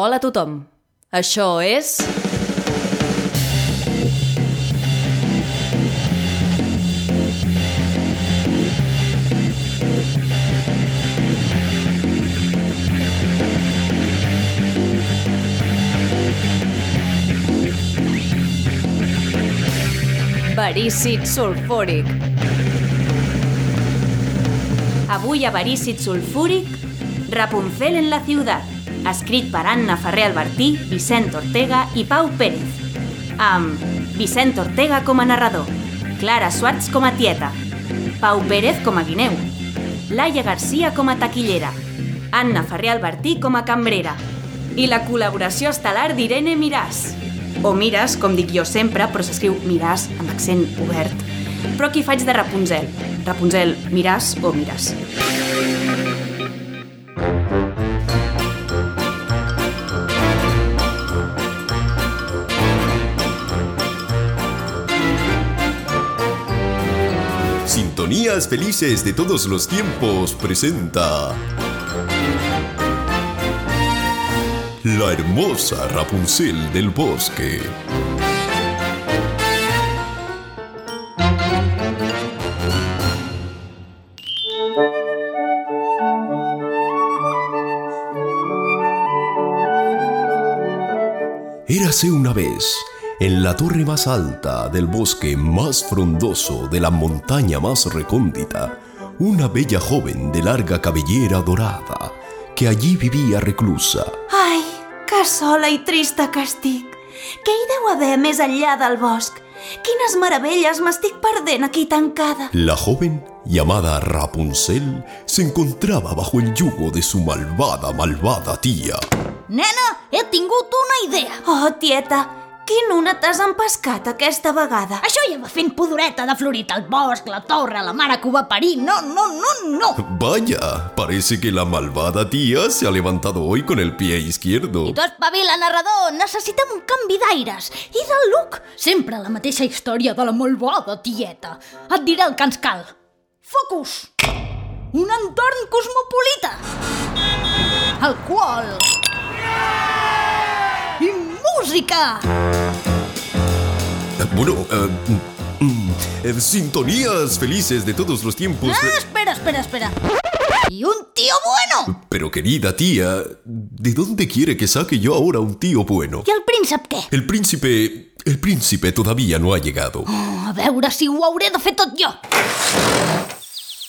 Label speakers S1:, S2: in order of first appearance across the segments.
S1: Hola a tothom. Això és... Verícid sulfúric. Avui a Verícid sulfúric, Rapunzel en la ciutat, escrit per Anna Ferrer Albertí, Vicent Ortega i Pau Pérez. Amb Vicent Ortega com a narrador, Clara Suárez com a tieta, Pau Pérez com a guineu, Laia Garcia com a taquillera, Anna Ferrer Albertí com a cambrera i la col·laboració estel·lar d'Irene Miràs. O Miras, com dic jo sempre, però s'escriu Miràs amb accent obert. Però aquí faig de Rapunzel. Rapunzel, Miràs o Miràs.
S2: Sintonías Felices de todos los tiempos presenta La hermosa Rapunzel del bosque. Érase una vez, en la torre más alta del bosque más frondoso de la montaña más recóndita, una bella joven de larga cabellera dorada, que allí vivía reclusa.
S3: Ai, que sola i trista que estic! Què hi deu haver més enllà del bosc? Quines meravelles m'estic perdent aquí tancada!
S2: La joven, llamada Rapunzel, se encontraba bajo el yugo de su malvada, malvada tía.
S4: Nena, he tingut una idea.
S3: Oh, tieta, quin una t'has empescat aquesta vegada!
S4: Això ja va fent pudoreta de florit al bosc, la torre, la mare que ho va parir. No, no, no, no.
S2: Vaya, parece que la malvada tía se ha levantado hoy con el pie izquierdo.
S4: I tu espavila, narrador, necessitem un canvi d'aires. I de look, sempre la mateixa història de la molt boda tieta. Et diré el que ens cal. Focus! Un entorn cosmopolita! Alcohol! I música!
S2: Bueno, eh, mm, mm, eh, sintonías felices de todos los tiempos.
S4: Ah, espera, espera, espera. I un tio bueno!
S2: Pero querida tía, ¿de dónde quiere que saque yo ahora un tío bueno?
S4: I el príncep què?
S2: El príncipe... El príncipe todavía no ha llegado.
S4: A veure si ho hauré de fer tot jo.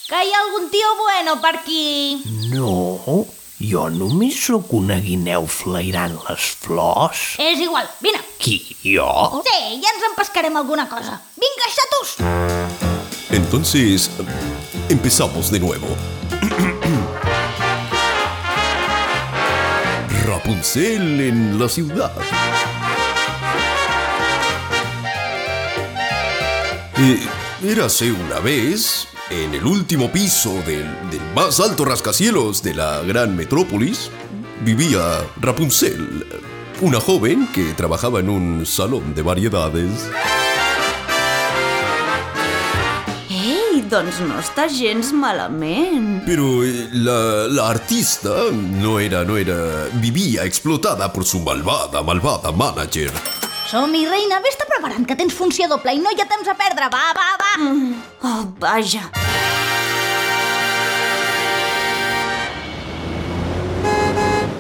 S4: Que hi ha algun tio bueno per aquí?
S5: No, jo només sóc una guineu flairant les flors.
S4: És igual, vine.
S5: Qui,
S3: Oh.
S5: jo?
S4: Sí, ja ens empescarem alguna cosa. Vinga, xatos!
S2: Entonces, empezamos de nuevo. Rapunzel en la ciudad. Eh, érase una vez, en el último piso del, del más alto rascacielos de la gran metrópolis, vivía Rapunzel, una joven que trabajaba en un salón de variedades.
S3: Ei, doncs no està gens malament.
S2: Pero eh, la, la artista no era, no era, vivía explotada por su malvada, malvada manager.
S4: Som-hi, reina, vés-te preparant, que tens funció doble i no hi ha temps a perdre. Va, va, va!
S3: Oh, vaja!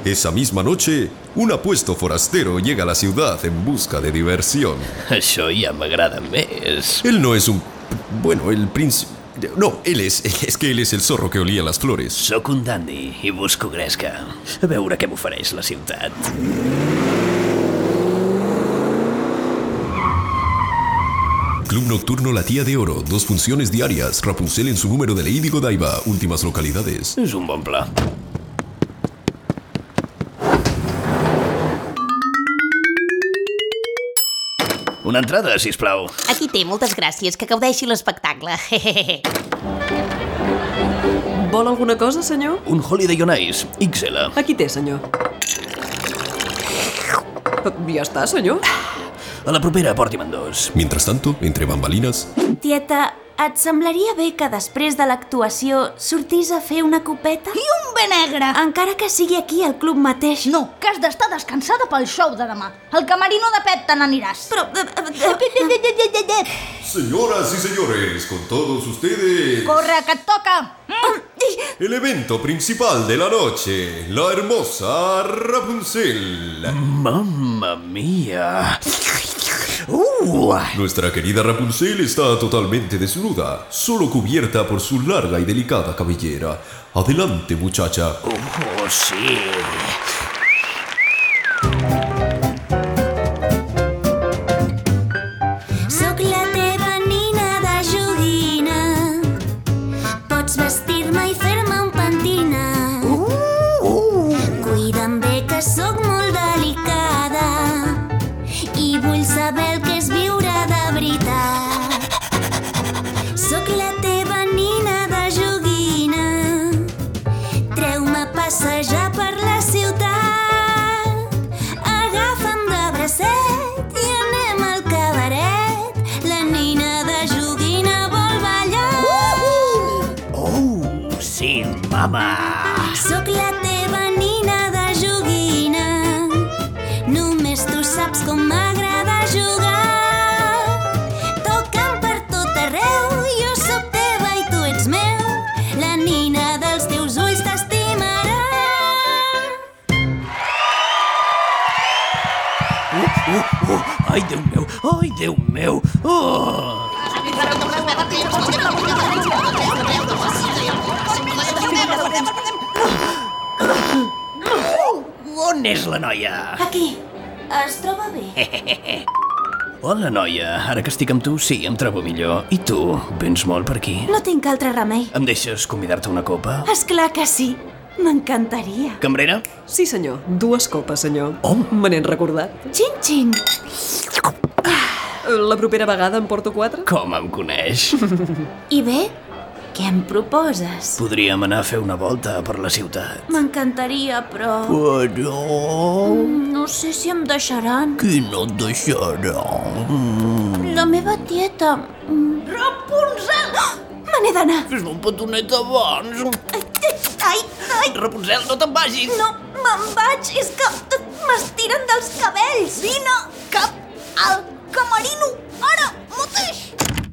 S2: Esa misma noche, un apuesto forastero llega a la ciudad en busca de diversión.
S5: Això ja m'agrada més.
S2: Él no es un... Bueno, el príncipe... No, él es... Es que él es el zorro que olía las flores.
S5: Sóc un dandi i busco gresca. A veure què m'ofereix la ciutat.
S2: Club Nocturno La Tía de Oro, dos funciones diarias, Rapunzel en su número de Lady Godiva, últimas localidades.
S5: És un bon pla. Una entrada, si plau.
S6: Aquí té, moltes gràcies, que gaudeixi l'espectacle.
S7: Vol alguna cosa, senyor?
S5: Un Holiday on Ice, XL.
S7: Aquí té, senyor. Ja està, senyor.
S5: A la propera, porti'm en dos.
S2: Mientras tanto, entre bambalinas,
S3: Tieta, et semblaria bé que després de l'actuació sortís a fer una copeta?
S4: I un un bé negre.
S3: Encara que sigui aquí al club mateix.
S4: No, que has d'estar descansada pel show de demà. Al camerino de Pep te n'aniràs.
S3: Però... eh, eh, eh,
S2: Señoras y señores, con todos ustedes,
S4: Corre, que et toca!
S2: el evento principal de la noche, la hermosa Rapunzel.
S5: Mamma mia! Uh!
S2: Nuestra querida Rapunzel está totalmente desnuda, solo cubierta por su larga y delicada cabellera. Adelante, muchacha.
S5: Oh, sí!
S8: Soc la teva nina de joguina. Pots vestir-me i fer-me un pentinat.
S3: Uh,
S8: Cuida'm bé que sóc molt delicada i vull saber el que és viure de veritat. Soc la teva nina de joguina. Treu-me a passejar per la ciutat. Agafa'm de bracet i anem al cabaret. La nina de joguina vol ballar.
S5: Oh, sí, mama!
S8: Soc la teva nina de joguina. Només tu saps com m'agrada jugar. Toca'm per tot arreu, jo sóc teva i tu ets meu. La nina dels teus ulls t'estimarà.
S5: Oh, oh, ai, Déu meu! Ai, Déu meu! Oh! On és la noia?
S3: Aquí. Es troba bé?
S5: Hola, noia. Ara que estic amb tu, sí, em trobo millor. I tu? Vens molt per aquí?
S3: No tinc altre remei.
S5: Em deixes convidar-te una copa?
S3: És clar que sí. M'encantaria.
S5: Cambrera?
S7: Sí, senyor. Dues copes, senyor.
S5: Oh.
S7: Me n'he recordat.
S3: Xin, xin.
S7: La propera vegada en porto quatre?
S5: Com em coneix?
S3: I bé, què em proposes?
S5: Podríem anar a fer una volta per la ciutat.
S3: M'encantaria, però...
S5: Però...
S3: No sé si em deixaran.
S5: Qui no et deixarà?
S3: La meva tieta... mm, Rapunzel! Me n'he d'anar.
S5: Fes-me un petonet abans.
S3: Ai, ai,
S5: Rapunzel, no te'n vagis.
S3: no, me'n vaig. És que m'estiren dels cabells. Vine cap al camerino, ara mateix.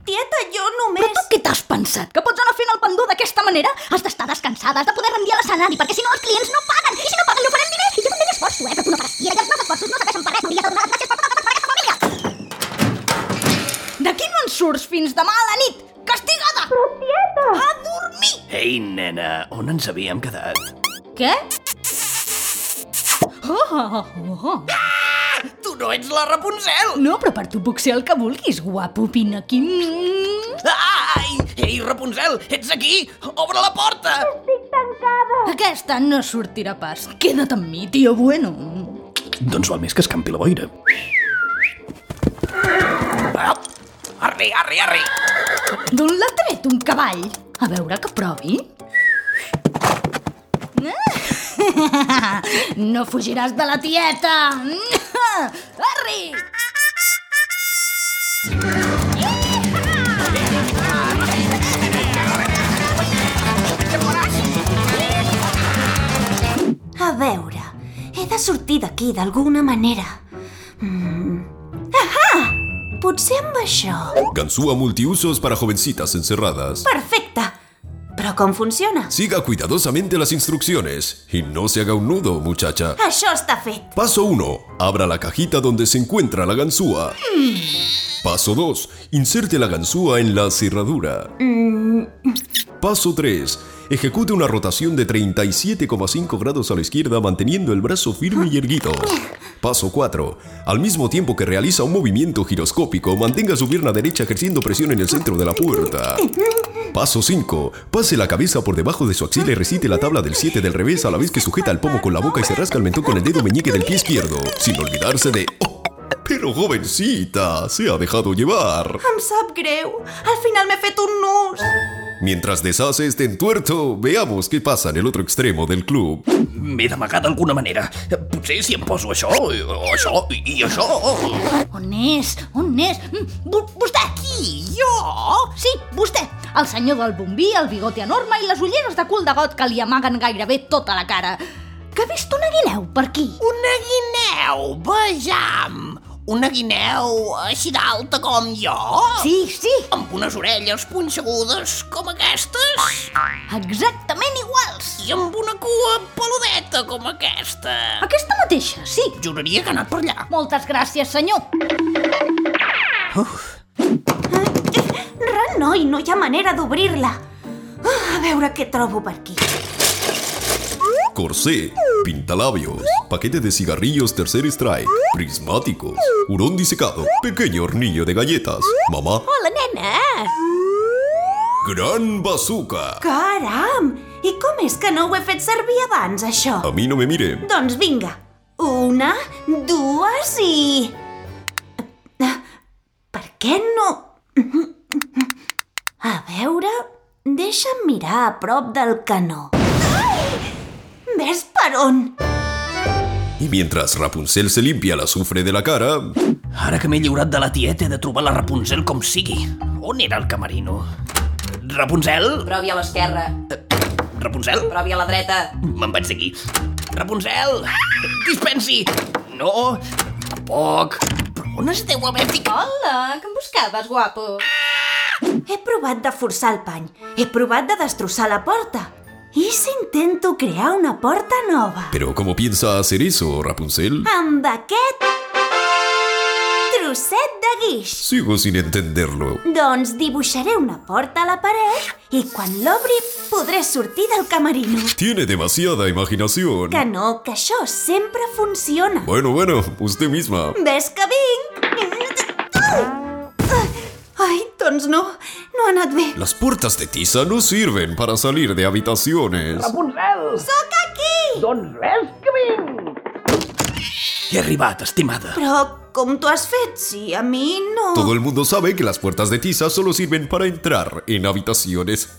S3: Tieta, jo
S4: Però tu
S3: només...
S4: què t'has pensat? Que pots anar fent el pendó d'aquesta manera? Has d'estar descansada, has de poder rendir a l'escenari, perquè si no els clients no paguen, i si no paguen no farem diners, i jo també m'esforço, eh? Però tu no pares guia, i els meus esforços no serveixen per res, m'hauries de donar les gràcies per tota la aquesta família! D'aquí no en surts fins demà a la nit! Castigada! Però tieta! A dormir!
S5: Ei, nena, on ens havíem quedat?
S4: Què? Oh, oh, oh, oh.
S5: Tu no ets la Rapunzel!
S4: No, però per tu puc ser el que vulguis, guapo, vine aquí. Mm.
S5: Ai! Ei, Rapunzel, ets aquí? Obre la porta!
S4: Aquesta no sortirà pas. Queda't amb mi, tio bueno.
S5: Doncs val més que escampi la boira. Ah, Arri, arri, arri!
S4: D'on l'ha tret un cavall? A veure que provi. Ah. No fugiràs de la tieta! Arri!
S3: A veure, he de sortir d'aquí d'alguna manera. Mm. Ahà! Potser amb això.
S2: Ganzúa multiusos para jovencitas encerradas.
S3: Perfecte. Però com funciona?
S2: Siga cuidadosamente las instrucciones y no se haga un nudo, muchacha.
S3: Això està fet.
S2: Paso 1. Abra la cajita donde se encuentra la ganzúa. Paso 2. Inserte la ganzúa en la cerradura. Paso 3. Ejecute una rotación de 37,5 grados a la izquierda manteniendo el brazo firme y erguido. Paso 4. Al mismo tiempo que realiza un movimiento giroscópico, mantenga su pierna derecha ejerciendo presión en el centro de la puerta. Paso 5. Pase la cabeza por debajo de su axila y recite la tabla del 7 del revés a la vez que sujeta el pomo con la boca y se rasca el mentón con el dedo meñique del pie izquierdo, sin olvidarse de... ¡Oh! Pero jovencita, se ha dejado llevar.
S3: Em sap greu. Al final m'he fet un nus.
S2: Mientras deshace este entuerto, veamos qué pasa en el otro extremo del club.
S5: M'he d'amagar d'alguna manera. Potser si em poso això, o això, i això...
S4: On és? On és? Mm, vo- Vostè! Qui? Jo? Sí, vostè! El senyor del bombí, el bigote enorme i les ulleres de cul de got que li amaguen gairebé tota la cara. Que ha vist una guineu per aquí?
S9: Una guineu, vejam! Una guineu així d'alta com jo?
S4: Sí, sí,
S9: Amb unes orelles punxegudes com aquestes?
S4: exactament iguals.
S9: I amb una cua peludeta com aquesta?
S4: Aquesta mateixa, sí.
S9: Juraria que ha anat per allà.
S4: Moltes gràcies, senyor.
S3: Renoi, no hi ha manera d'obrir-la. Ah, A veure què trobo per aquí.
S2: Corsé, pintalabios, paquete de cigarrillos tercer strike, prismáticos, hurón disecado, pequeño hornillo de galletas, mamá,
S6: Hola, nena!
S2: gran bazooka.
S3: Caram! I com és que no ho he fet servir abans, això?
S2: A mí no me mire.
S3: Doncs vinga, una, dues i... Ah, Per què no... A veure, deixa'm mirar a prop del canó. Ai! Ves per on?
S2: Y mientras Rapunzel se limpia el azufre de la cara,
S5: Ara que m'he lliurat de la tieta he de trobar la Rapunzel com sigui. On era el camerino? Rapunzel?
S6: Provi a l'esquerra,
S5: Rapunzel?
S6: provi a la dreta.
S5: Me'n vaig d'aquí. Rapunzel! Dispensi! No! Poc! Però on es deu haver ficat?
S6: Hola, que em buscaves, guapo?
S3: He provat de forçar el pany, he provat de destrossar la porta. I si intento crear una porta nova?
S2: ¿pero cómo piensa hacer eso, Rapunzel?
S3: Amb aquest... trosset de guix.
S2: Sigo sin entenderlo.
S3: Doncs dibuixaré una porta a la paret i quan l'obri podré sortir del camerino.
S2: Tiene demasiada imaginación.
S3: Que no, que això sempre funciona.
S2: Bueno, bueno, usted misma.
S3: Ves que vinc! Ai, doncs no, no ha anat bé.
S2: Las puertas de tiza no sirven para salir de habitaciones.
S3: Sóc aquí!
S5: He arribat, estimada.
S3: Però com t'ho has fet, si a mi no...
S2: Todo el mundo sabe que las puertas de tiza solo sirven para entrar en habitaciones.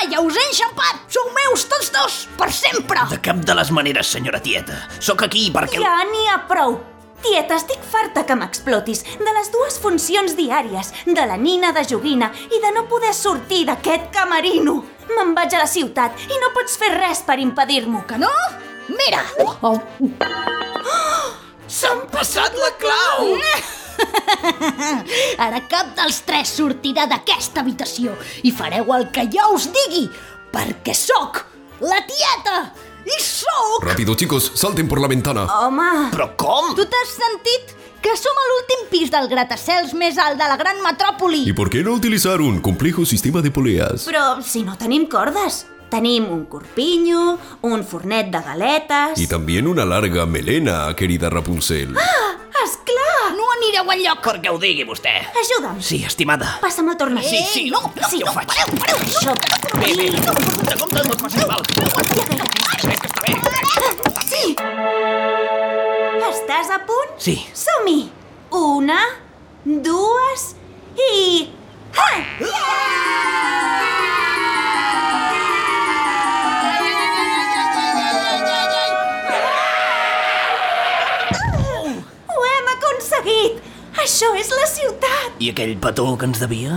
S4: Ah, ja us he enxampat! Sou meus tots dos, per sempre!
S5: De cap de les maneres, senyora tieta. Sóc aquí perquè...
S3: Ja n'hi ha prou! Tieta, estic farta que m'explotis de les dues funcions diàries, de la nina de joguina i de no poder sortir d'aquest camerino. Me'n vaig a la ciutat i no pots fer res per impedir-m'ho.
S4: Que no? Mira! Oh.
S9: S'han passat la clau!
S4: Ara cap dels tres sortirà d'aquesta habitació i fareu el que jo us digui, perquè sóc la tieta i sóc...
S2: Rápido, chicos, salten por la ventana.
S3: Home,
S5: Però com?
S4: Tu t'has sentit? Que som a l'últim pis del gratacels més alt de la gran metròpoli.
S2: ¿Y por qué no utilizar un complejo sistema de poleas?
S3: però si no tenim cordes. Tenim un corpinyo, un fornet de galetes...
S2: Y también una larga melena, querida Rapunzel.
S3: Esclar!
S4: No anireu enlloc.
S5: Perquè ho digui vostè.
S3: Ajuda'm!
S5: Sí, estimada.
S3: Passa'm el tornasol.
S5: Sí,
S4: Eh,
S5: sí,
S4: no, no,
S5: jo ho faig.
S4: Pareu, pareu, no.
S3: Això...
S5: Bé, bé, compte, compte, no et facis mal. Ves que està bé.
S3: Sí! Estàs a punt?
S5: Sí,
S3: Som-hi! Una, dues i... Ha! Ho hem aconseguit! Això és la ciutat!
S5: i aquell petó que ens devia?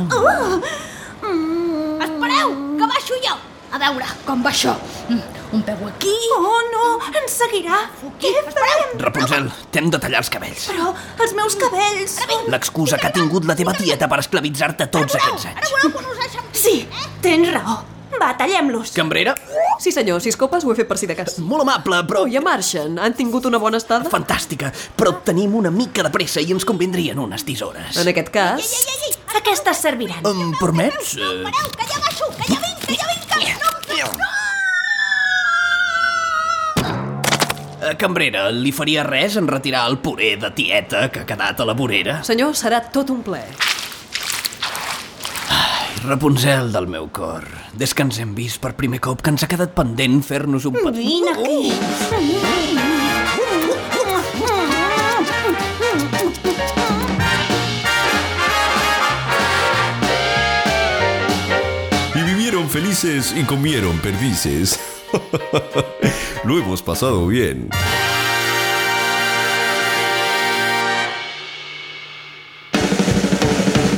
S4: Espereu, que baixo jo. A veure, com va això? Mm, Un peu aquí...
S3: Oh, no! Ens seguirà! Què farem?
S5: Rapunzel, t'hem de tallar els cabells.
S3: Però els meus cabells...
S5: L'excusa que ha tingut la teva tieta per esclavitzar-te tots aquests
S4: Ara
S5: anys.
S4: voleu que us eixampi?
S3: Sí, tens raó. Va, tallem-los.
S5: Cambrera,
S7: Sí, senyor, sis copes ho he fet per si de cas.
S5: molt amable, però
S7: Oh, ja marxen. Han tingut una bona estada?
S5: fantàstica, però tenim una mica de pressa i ens convindrien unes tisores.
S7: En aquest cas...
S3: Aquestes serviran.
S5: Em permets? Eh,
S4: Pareu, que ja baixo, que ja vinc, que ja vinc, que no em
S5: eh, Cambrera, li faria res en retirar el puré de tieta que ha quedat a la vorera?
S7: Senyor, serà tot un plaer.
S5: Rapunzel del meu cor, des que ens hem vist per primer cop que ens ha quedat pendent fer-nos un Uh! petó.
S3: Vine aquí.
S2: Y felices y comieron perdices. Lo hemos pasado bien.